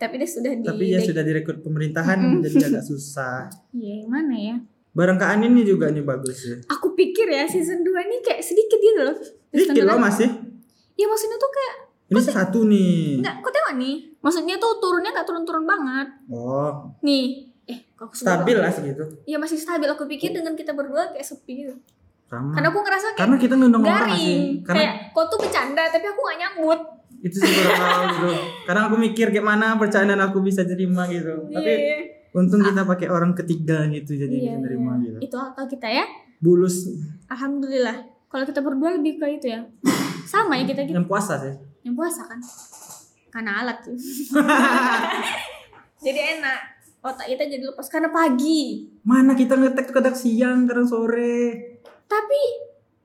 Tapi dia sudah Iya. di. Tapi ya sudah direkrut pemerintahan Mm-mm. jadi agak susah. Iya, yang mana ya? Barang Kak Anin ini juga nih bagus ya. Aku pikir ya season 2 ini kayak sedikit gitu loh. Season Dikit dua- loh masih. Iya maksudnya tuh kayak Ini satu nih. nggak kok tengok nih. Maksudnya tuh turunnya nggak turun-turun banget. Oh, Nih, eh kok aku suka stabil banget. lah segitu. Iya masih stabil. Aku pikir dengan kita berdua kayak sepi gitu. Sama. Karena aku ngerasa kayak Karena kita ngundang orang nggak sih. garing. Karena Kayak kok tuh bercanda tapi aku nggak nyambut. itu sih kurang tahu gitu. Karena aku mikir gimana percandaan aku bisa terima gitu. Tapi Iya. untung kita pakai orang ketiga gitu jadi Iya, bisa terima iya. gitu. Itu atau kita ya. Bulus Alhamdulillah. Kalau kita berdua lebih ke itu ya. Sama ya kita gitu. yang puasa sih. Yang puasa kan. Karena alat tuh. <laughs> jadi enak. Otak kita jadi lepas karena pagi. Mana kita ngetek tuh kadang siang, kadang sore. Tapi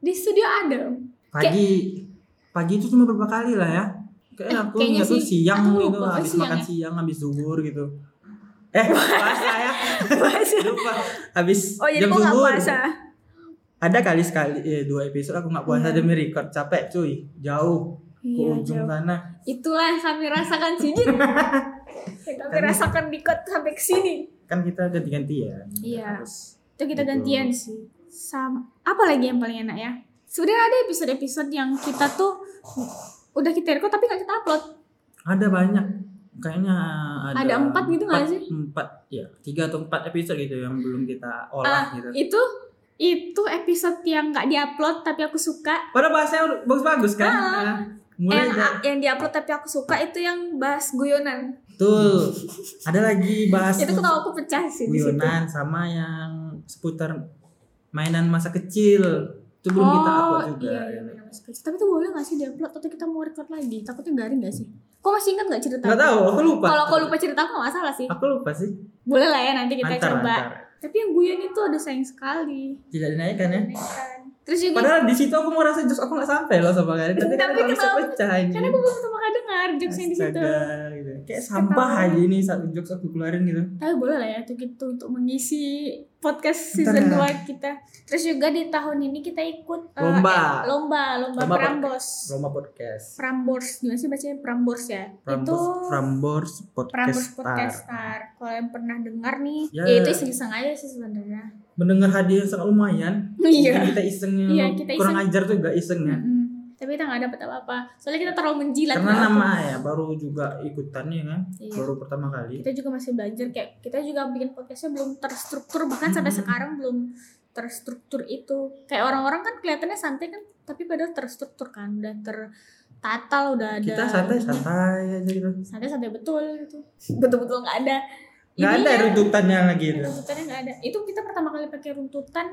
di studio ada. Pagi. Pagi itu cuma beberapa kali lah ya. Kayaknya Eh, aku kayaknya nggak tuh sih. siang Aku gitu, lupa, habis siang makan ya. siang, habis zuhur gitu. <laughs> Eh, puasa ya. Puasa. Lupa. Habis Oh jadi jam kok nggak zuhur. puasa? Ada kali sekali eh, dua episode aku nggak puasa demi record capek cuy, jauh ke Iya ujung jauh. sana. Itulah yang kami rasakan <laughs> sini. yang kami rasakan di kot sampai ke sini. kan kita ganti-gantian. Iya. Terus, Itu kita Betul. gantian sih. Sam apa lagi yang paling enak ya? Sebenarnya ada episode-episode yang kita tuh udah kita record tapi nggak kita upload. ada banyak. Kayaknya ada. Ada empat gitu nggak empat- sih? Empat, ya tiga atau empat episode gitu yang belum kita Ah. olah gitu. Itu itu episode yang nggak diupload tapi aku suka. Padahal bahasanya udah bagus-bagus kan? Ah. Nah, mulai Yang dari- yang diupload tapi aku suka itu yang bahas guyonan. tuh ada lagi bahas Itu ketawa aku pecah sih di situ. guyonan sama yang seputar mainan masa kecil itu belum kita upload Oh, juga. ya. Iya, iya, benar, Mas Kris. Tapi itu boleh gak sih diupload atau kita mau record lagi? Takutnya garing gak sih? Kok masih ingat gak cerita? gitu. Nggak tahu, aku lupa. Kalau kau lupa cerita aku gak salah sih. Aku lupa sih. Boleh lah ya nanti kita Antar, coba. antar. Tapi yang guyon itu ada sayang sekali. Tidak dinaikkan ya. Terus juga Padahal di situ aku merasa jokes aku nggak sampai loh sama kalian. Tapi, kan Tapi aku bisa kenapa? pecah ini. karena aku belum sama kakak dengar jokes yang di situ. Astaga, gitu. Kayak sampah Ketawa. aja ini satu jokes aku keluarin gitu. Tapi boleh lah ya itu gitu untuk mengisi podcast Bentar season ya. 2 kita. Terus juga di tahun ini kita ikut eh, Lomba. eh, lomba, lomba, Lomba Prambors. Roma podcast. Prambors, gimana sih bacanya Prambors ya? Prambors, itu Prambors podcast. Prambors Star. Podcast Star. Kalau yang pernah dengar nih, Ya. ya, itu iseng-iseng aja sih sebenarnya. Mendengar hadiah yang sangat lumayan. Mungkin Iya. Kita isengnya Iya, kita iseng. kurang ajar juga isengnya. Mm-mm. Tapi kita nggak dapat apa-apa. Soalnya kita terlalu menjilat. ya. Nah. Karena nggak apa. nama ya baru juga ikutan ya kan. Iya. Baru pertama kali. Kita juga masih belajar kayak kita juga bikin podcastnya belum terstruktur bahkan sampai Mm. sekarang belum terstruktur itu. Kayak orang-orang kan kelihatannya santai kan, tapi padahal terstruktur kan, udah tertata lah, udah ada. Kita santai-santai aja gitu. Santai-santai betul <laughs> gitu. Betul-betul nggak ada. Nggak ada ininya. runtutannya lagi gitu. itu. runtutannya nggak ada itu kita pertama kali pakai runtutan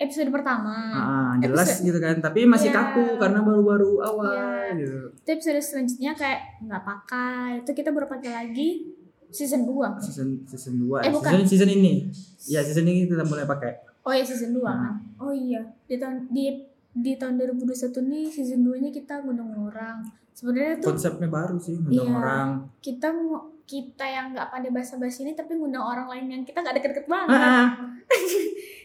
episode pertama Ah, jelas Nah, Episode- gitu kan. Tapi masih Iya. kaku karena baru-baru awal Iya. gitu. itu episode selanjutnya kayak nggak pakai itu kita baru pakai lagi season 2 season season 2 Eh, bukan. season season ini ya season ini kita mulai pakai oh ya season 2 Nah. kan oh iya di tahun di di tahun 2021 nih season 2 nya kita ngundang orang sebenarnya tuh konsepnya baru sih ngundang Iya. orang kita mau kita yang nggak pandai bahasa basi ini tapi ngundang orang lain yang kita nggak deket-deket banget ah,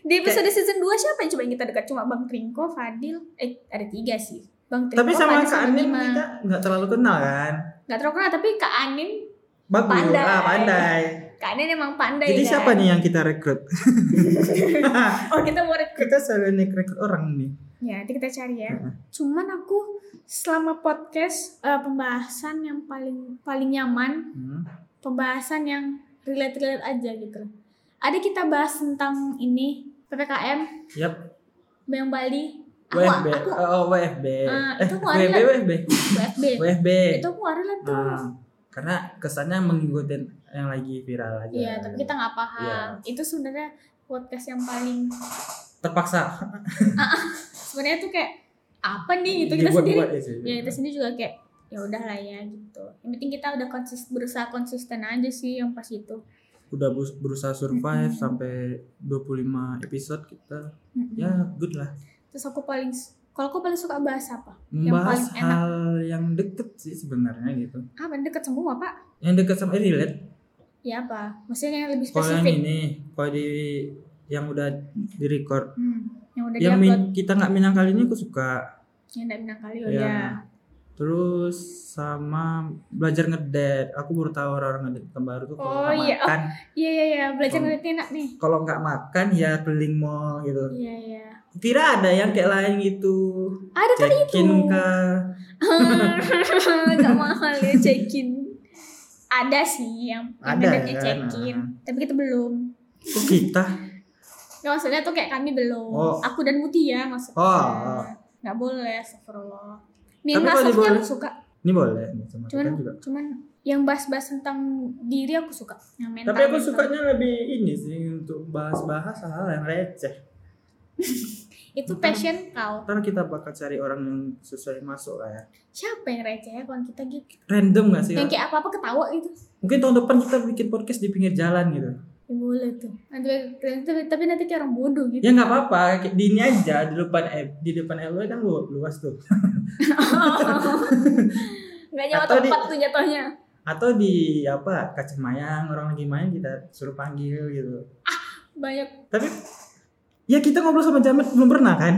di episode season 2 siapa yang coba yang kita dekat cuma bang Trinko Fadil eh ada tiga sih bang Trinko tapi Fadil sama Kak Anin Bima. kita nggak terlalu kenal kan nggak terlalu kenal tapi Kak Anin bagus Pandai. ah pandai Kak Anin emang pandai jadi kan? siapa nih yang kita <laughs> rekrut Oh kita mau rekrut kita selalu nih rekrut orang nih Ya nanti kita cari ya Heeh. Cuman aku selama podcast eh, Pembahasan yang paling paling nyaman Hmm. Pembahasan yang relate-relate aja gitu loh. Ada kita bahas tentang ini PPKM Yap, Bayang Bali Aku, WFB, aku oh WFB, Ah, eh itu aku WFB, ada. WFB, WFB WFB. Itu aku ada lah tuh Ah, karena kesannya mengikuti yang lagi viral aja. Iya tapi kita nggak Iya. paham Itu sebenarnya podcast yang paling terpaksa. sebenarnya tuh kayak apa nih gitu kita sendiri dibuat-buat ya sih. ya kita sendiri juga kayak ya udah lah ya gitu yang penting kita udah konsis berusaha konsisten aja sih yang pas itu udah bus- berusaha survive Mm-mm. sampai 25 episode kita Mm-mm. ya good lah terus aku paling kalau aku paling suka bahas apa membahas paling enak. hal yang deket sih sebenarnya gitu apa deket semua pak yang deket sama eh, relate ya apa maksudnya yang lebih kalau yang spesifik ini kalau di yang udah di record Hmm, yang udah yang diupload min- kita nggak minang kali ini aku suka yang udah minang kali Ya. udah terus sama belajar ngedet aku baru tahu orang ngedet baru tuh kalau Oh, nggak iya. makan iya iya iya belajar Oh. ngeliatnya enak nih kalau nggak makan ya keliling mall gitu iya iya kira ada yang kayak lain gitu ada kali itu check-in kah <laughs> gak mahal ya check in ada sih yang yang Ada adanya kan? check in tapi kita belum kok kita Ya maksudnya tuh kayak kami belum. Oh. Aku dan Mutia maksudnya. Oh. Nggak boleh, astagfirullah. Yang Tapi kalau masuknya diboleh- aku suka. ini boleh nih sama Cuman kita juga cuman yang bahas-bahas tentang diri aku suka. Yang mental. gitu. tapi aku mental. sukanya lebih ini sih untuk bahas-bahas hal yang receh itu passion kau. ntar kita bakal cari orang yang sesuai masuk lah ya Siapa yang receh ya kawan kita gitu? random gak sih Yang kayak apa-apa ketawa gitu. mungkin tahun depan kita bikin podcast di pinggir jalan gitu Ya boleh tuh. Nanti tapi, tapi nanti kayak orang bodoh gitu. ya nggak apa-apa kayak di ini aja di depan eh, di depan LW kan lu- luas tuh Nggak nyawa Atau di- tempat tuh jatuhnya. atau di apa kacang mayang orang lagi main kita suruh panggil gitu Banyak. tapi ya kita ngobrol sama jamet belum <laughs> pernah kan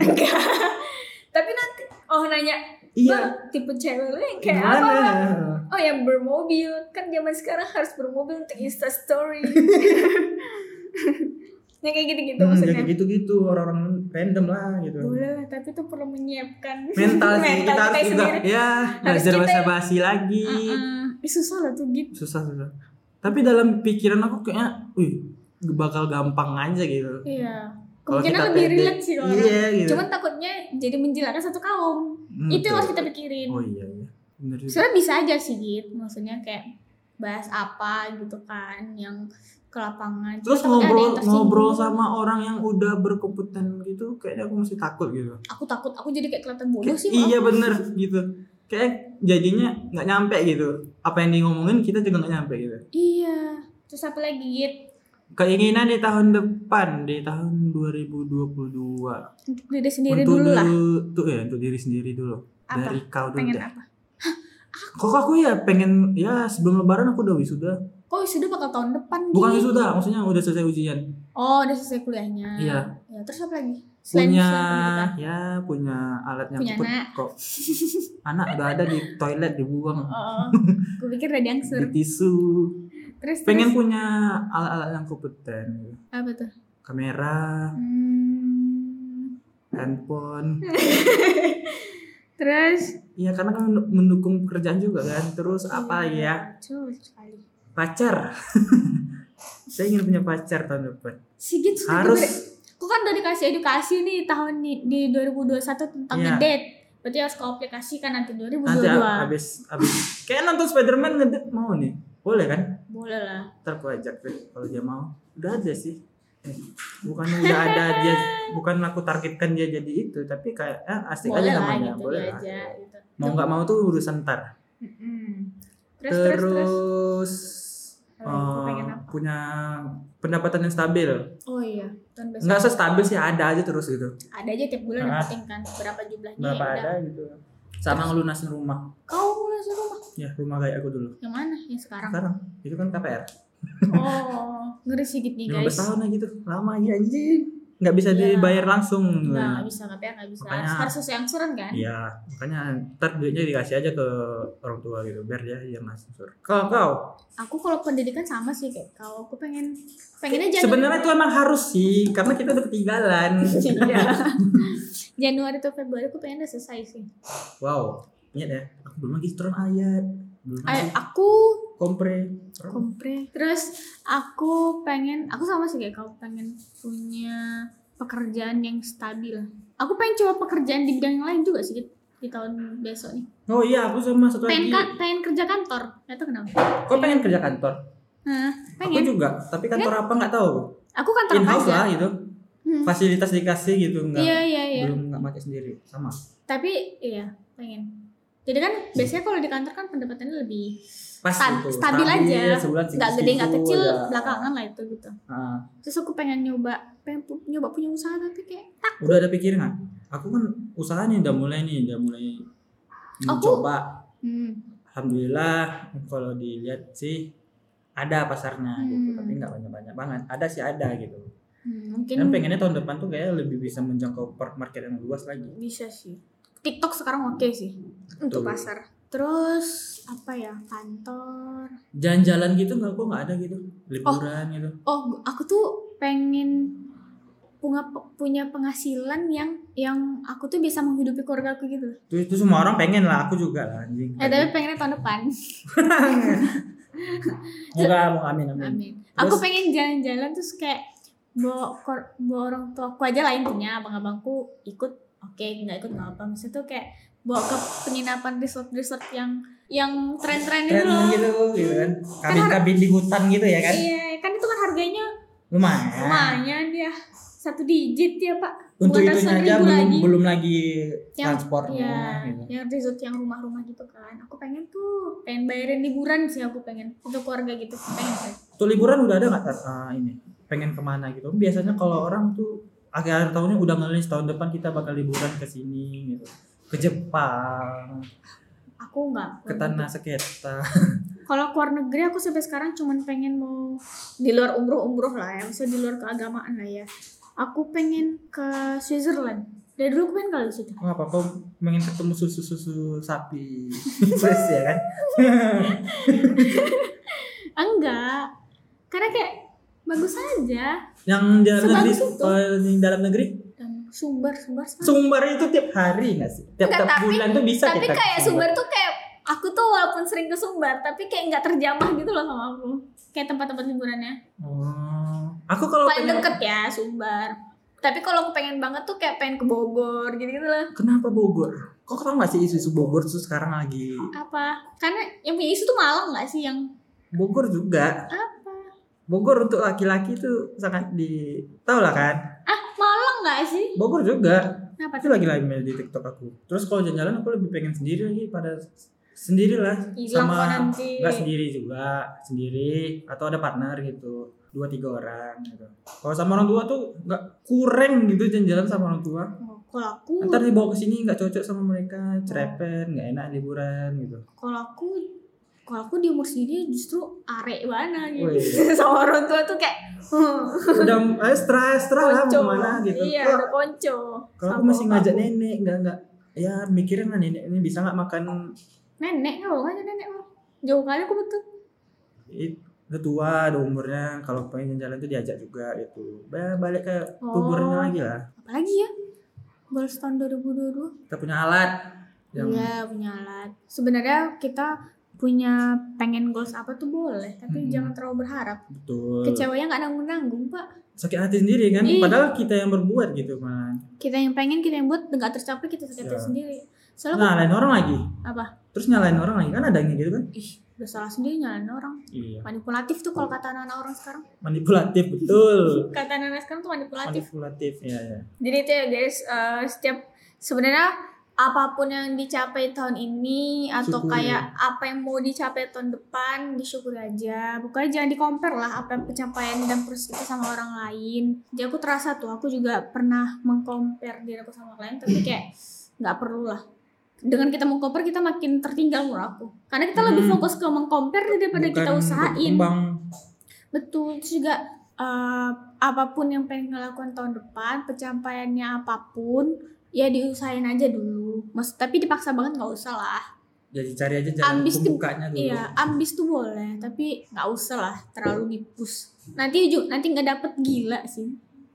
Tapi nanti oh nanya, iya "Bang, tipe cewek lu yang kayak gimana apa? ya? Oh yang bermobil kan zaman sekarang harus bermobil untuk Insta <laughs> Story. nah kayak gitu-gitu Hmm, maksudnya. jadi gitu-gitu orang-orang random lah gitu Boleh lah, tapi itu perlu menyiapkan <laughs> mental <laughs> sih kita, harus juga sendiri. ya Harus belajar kita- bahasa basi lagi Uh-uh. Ih, susah lah tuh gitu. susah susah tapi dalam pikiran aku kayaknya wih bakal gampang aja gitu Iya. Kalau Kemungkinan kita lebih pede. relate sih orang. iya gitu Cuman takutnya jadi menjilakkan satu kaum. Hmm, itu yang harus betul. kita pikirin. oh iya iya benar juga Sebenarnya bisa aja sih gitu, maksudnya kayak bahas apa gitu kan yang ke lapangan. Cuma terus takutnya ada yang ngobrol tersinggung. ngobrol sama orang yang udah berkompeten gitu kayaknya aku masih takut gitu aku takut aku jadi kayak kelihatan bodoh sih. maaf. iya bener gitu kayak jadinya nggak nyampe gitu apa yang dia ngomongin kita juga nggak nyampe gitu Iya. Terus apa lagi Git? keinginan di tahun depan di tahun 2022 Untuk diri sendiri untuk dulu lah. tuh ya untuk diri sendiri dulu Apa? dari kau dulu Pengen dah. apa? kok aku ya pengen ya sebelum lebaran aku udah wisuda Kok wisuda bakal tahun depan? bukan Git? wisuda maksudnya udah selesai ujian Oh, udah selesai kuliahnya. Iya. Ya, terus apa lagi? punya pendidikan. ya punya alat yang gitu kan? Punya anak. aku- kok anak udah ada di toilet dibuang <laughs> Oh, gue pikir udah di diangsur. tisu Terus pengen terus, punya alat-alat yang kompeten gitu. apa tuh? kamera Hmm, handphone terus Iya karena kan mendukung pekerjaan juga kan terus apa Hmm. lagi ya Cuk, sekali. pacar <laughs> saya ingin punya pacar tahun depan Sigit sudah harus diberi- Kok kan udah dikasih edukasi nih tahun di, di 2021 tentang Iya. ngedate. Berarti harus kau aplikasikan nanti 2022. nanti ah, abis abis kayak nonton Spiderman ngedit mau nih boleh kan Boleh lah. ntar aku ajak deh kalau dia mau udah ada sih Eh, bukannya <laughs> udah ada dia bukan aku targetkan dia jadi itu tapi kayak eh, asik boleh aja lah namanya gitu boleh dia lah aja gitu. mau nggak mau tuh urusan ntar Mm-mm. Terus terus, terus terus. Apa lagi? Aku eh, pengen apa? punya pendapatan yang stabil Oh iya, tahun besok. nggak usah stabil sih ada aja terus gitu Ada aja tiap bulan yang Ah. penting kan berapa jumlahnya berapa ya ada udah. Oh, gitu sama ngelunasin rumah Kau mulai sih rumah. ya rumah kayak aku dulu Yang mana? Yang <laughs> sekarang. sekarang itu kan KPR Oh, ngeri sedikit nih 15 guys. tahun lah gitu lama aja anjing nggak bisa Iya. dibayar langsung Enggak, gitu. enggak bisa, tapi enggak bisa. Makanya- Harus sesuai angsuran kan? Iya, makanya ntar duitnya dikasih aja ke orang tua gitu, biar dia yang ngasih sur. Kalau kau, Aku kalau pendidikan sama sih kayak kau. Aku pengen pengennya Januari. sebenarnya itu emang harus sih, karena kita udah ketinggalan. Iya. <laughs> Januari atau Februari aku pengen udah selesai sih. wow, ingat ya, aku belum lagi turun ayat, belum Ay, lagi aku kompre. kompre terus aku pengen aku sama sih kayak kau pengen punya pekerjaan yang stabil aku pengen coba pekerjaan di bidang yang lain juga sih Dit, di tahun besok nih Oh iya, aku sama satu pengen kan? lagi. ka- pengen kerja kantor nggak tahu kenapa Kau pengen kerja kantor? Hah, Aku pengen juga, tapi kantor apa nggak tahu. aku kantor apa In house aja lah gitu. Hmm. fasilitas dikasih gitu nggak Iya iya iya. belum nggak pakai sendiri sama Tapi iya pengen. Jadi kan biasanya kalau di kantor kan pendapatannya lebih pas Stan- gitu, stabil aja. sebulan nggak gede nggak segitu, kecil udah. belakangan lah itu gitu. Ah, Terus aku pengen nyoba pengen pu- nyoba punya usaha tapi kayak udah ada pikiran nggak aku kan usaha nih udah mulai nih udah mulai Oh, Aku- mencoba hmm, alhamdulillah kalau dilihat sih ada pasarnya gitu Hmm. tapi nggak banyak banyak banget ada sih ada gitu hmm, mungkin dan pengennya tahun depan tuh kayak lebih bisa menjangkau per- market yang luas lagi bisa sih. TikTok sekarang oke sih untuk Betul. pasar. Terus apa ya kantor? jalan-jalan gitu nggak kok nggak ada gitu liburan gitu oh aku tuh pengen punya punya penghasilan yang yang aku tuh bisa menghidupi keluarga aku gitu loh. itu, itu semua orang pengen lah aku juga lah anjing Eh tapi pengennya tahun depan. Moga mau amin amin Amin. Hmm. Terus? Aku pengen jalan-jalan terus kayak bawa, kor- bawa orang tua aku aja lah intinya abang-abangku ikut oke nggak ikut nggak apa maksudnya tuh kayak bawa ke penginapan resort-resort yang yang tren-tren itu keren loh. gitu gitu kan kabin kabin di hutan gitu ya kan Ah. Iya, kan itu kan harganya lumayan lumayan ya. Satu digit ya, Pak. untuk Bukan itu ratusan ribu aja belum lagi. belum lagi Yang- transportnya Iya, gitu. yang resort yang rumah-rumah gitu kan. Aku pengen tuh, pengen bayarin liburan sih aku pengen untuk keluarga gitu pengen. sih. Tuh liburan udah ada nggak Tat? Ah, ini pengen kemana gitu? Biasanya kalau orang tuh akhir akhir tahunnya udah ngelis tahun depan kita bakal liburan ke sini gitu, ke Jepang, Aku nggak. ke tanah sekitar. Kalau keluar negeri aku sampai sekarang cuman pengen mau di luar umroh-umroh lah ya, maksudnya di luar keagamaan lah ya. Aku pengen ke Switzerland. Dari dulu aku pengen kalau situ. Nggak apa-apa, pengen ketemu susu susu sapi, <laughs> Terus ya kan? Enggak. Karena kayak bagus aja Yang dalam negeri, Sebagus itu. eh, yang dalam negeri dan sumber-sumber Sumber itu tiap hari nggak sih? Tiap, Nggak, tiap tapi- bulan tuh bisa Tapi kita. ke kayak Sumber tuh kayak aku tuh walaupun sering ke Sumber tapi kayak nggak terjamah gitu loh sama aku. Kayak tempat-tempat liburannya. Oh, aku kalau paling pengen- deket ya Sumbar tapi kalau aku pengen banget tuh kayak pengen ke Bogor gitu gitu lah Kenapa Bogor? Kok tau nggak sih isu-isu Bogor tuh sekarang lagi? apa karena yang punya isu tuh Malang nggak sih yang Bogor juga apa Bogor untuk laki-laki itu sangat di tau lah kan ah Malang nggak sih Bogor juga kenapa itu tuh lagi lagi main di TikTok aku terus kalau jalan-jalan aku lebih pengen sendiri lagi pada sendirilah hilang kok sama nanti nggak sendiri juga sendiri atau ada partner gitu dua tiga orang gitu kalau sama orang tua tuh nggak kurang gitu jalan-jalan sama orang tua Oh, kalau aku ntar dibawa ke sini nggak cocok sama mereka cerepet nggak enak liburan gitu kalau aku kalau aku di umur segini justru arek mana gitu Wih. <laughs> sama orang tua tuh kayak hmm, udah eh, stres stres lah konco mau kemana gitu iya Kalau- udah konco kalau aku Sama masih ngajak bapakku. nenek nggak nggak ya mikirin lah nenek ini bisa nggak makan nenek kalau nggak ada nenek mah jauh kali aku betul it, udah tua ada umurnya kalau pengen jalan tuh diajak juga gitu Ba- balik ke kuburannya Oh. lagi lah apalagi ya Goals tahun 2022 kita punya alat yang Iya punya alat. Sebenarnya kita punya pengen goals apa tuh boleh, tapi Mm-mm. jangan terlalu berharap. betul Kecewanya nggak nanggung nanggung pak. sakit hati sendiri kan Iya. padahal kita yang berbuat gitu man Kita yang pengen, kita yang buat, nggak tercapai kita sakit hati Iya. sendiri. Soalnya nah lain orang lagi Apa? terus nyalain orang lagi kan ada yang gitu kan ih udah salah sendiri nyalain orang. iya Manipulatif tuh kalau kata anak-anak orang sekarang. manipulatif betul Kata anak-anak sekarang tuh manipulatif. manipulatif ya ya Jadi itu ya guys, eh, setiap sebenarnya apapun yang dicapai tahun ini atau Syukuri. kayak apa yang mau dicapai tahun depan disyukuri aja. Bukannya jangan dikompar lah apa yang pencapaian dan proses kita sama orang lain. Jadi aku terasa tuh aku juga pernah mengkompar diri aku sama orang lain tapi kayak nggak perlu lah. Dengan kita mengkompar kita makin tertinggal menurut aku. Karena kita lebih Hmm. fokus ke mengkompar daripada kita Bukan usahain. berkembang. Betul, terus juga eh, apapun yang pengen ngelakuin tahun depan, pencapaiannya apapun, ya diusahain aja dulu. Maksud, tapi dipaksa banget nggak usah lah. jadi Ya, cari aja jalan Ambis tuh- pembukanya dulu Iya, ambis tuh boleh, tapi nggak usah lah terlalu dipus. Nanti ju- nanti nggak dapet gila sih.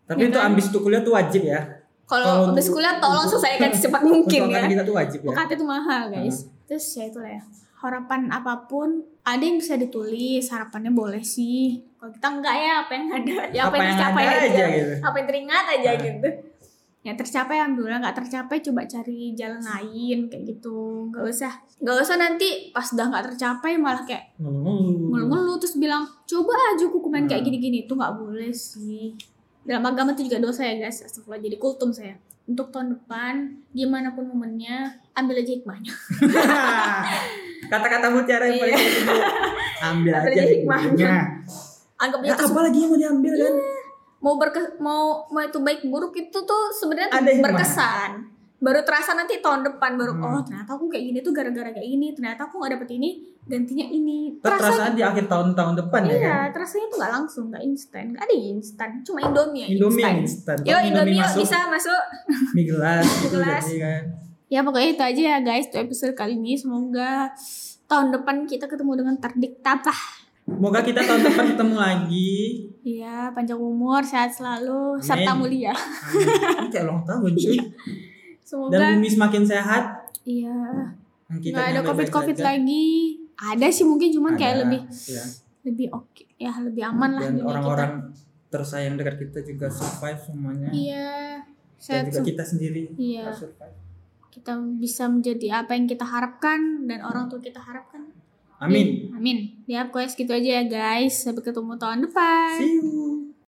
tapi Ya itu kan? ambis tuh kuliah tuh wajib ya Kalau Kalau habis untuk- kuliah tolong <laughs> untuk- selesaikan secepat mungkin Pertolongan ya. kita tuh wajib ya UKT itu mahal guys. Terus ya itulah ya. Harapan apapun ada yang bisa ditulis, harapannya boleh sih. Kalau kita enggak ya apa yang ada, ya apa, yang tercapai ada aja. gitu Apa yang teringat aja Nah. gitu. Ya tercapai alhamdulillah nggak tercapai coba cari jalan lain kayak gitu. Nggak usah. Nggak usah nanti pas udah nggak tercapai malah kayak Ngomong-ngomong. ngeluh-ngeluh terus bilang coba aja aku main kayak Nah. gini-gini itu nggak boleh sih. dalam agama itu juga dosa ya guys astagfirullah jadi kultum saya untuk tahun depan gimana pun momennya ambil aja hikmahnya <laughs> Kata-kata mutiara yang paling Iya. penting itu, ambil Ambil aja aja hikmahnya. anggap Ya, aja itu apa lagi yang mau diambil kan? mau berke mau mau itu baik buruk itu tuh sebenarnya Ada hikmah. berkesan baru terasa nanti tahun depan baru Hmm. oh ternyata aku kayak gini tuh gara-gara kayak ini ternyata aku nggak dapet ini gantinya ini Ter- Terasa di akhir tahun tahun depan ya kan? iya terasanya tuh nggak langsung nggak instan nggak ada yang instan cuma indomie yang Indomie yang instan instan. Iya. Yo, Kalau Indomie, yuk, masuk, bisa masuk. mie gelas gitu Mie gelas. jadi kan. Ya pokoknya itu aja ya guys untuk episode kali ini. Semoga tahun depan kita ketemu dengan terdik tabah. Semoga kita tahun depan ketemu <laughs> lagi. Iya, panjang umur, sehat selalu, serta Amin. mulia. Amin. Ini kayak ulang tahun cuy. Dan Iya. Semoga bumi semakin sehat. iya, Dan nggak ada kita yang baik-baik covid-covid saja. lagi. Ada sih mungkin cuman kayak Ada, lebih ya. lebih oke ya lebih aman lah Dan dunia orang-orang tersayang dekat kita juga survive semuanya. kita. Iya. Dan Sehat juga sem- kita sendiri Iya, survive. kita bisa menjadi apa yang kita harapkan dan orang tua kita harapkan. Amin. Iya. Amin. Ya, pokoknya segitu aja ya guys. Sampai ketemu tahun depan. See you.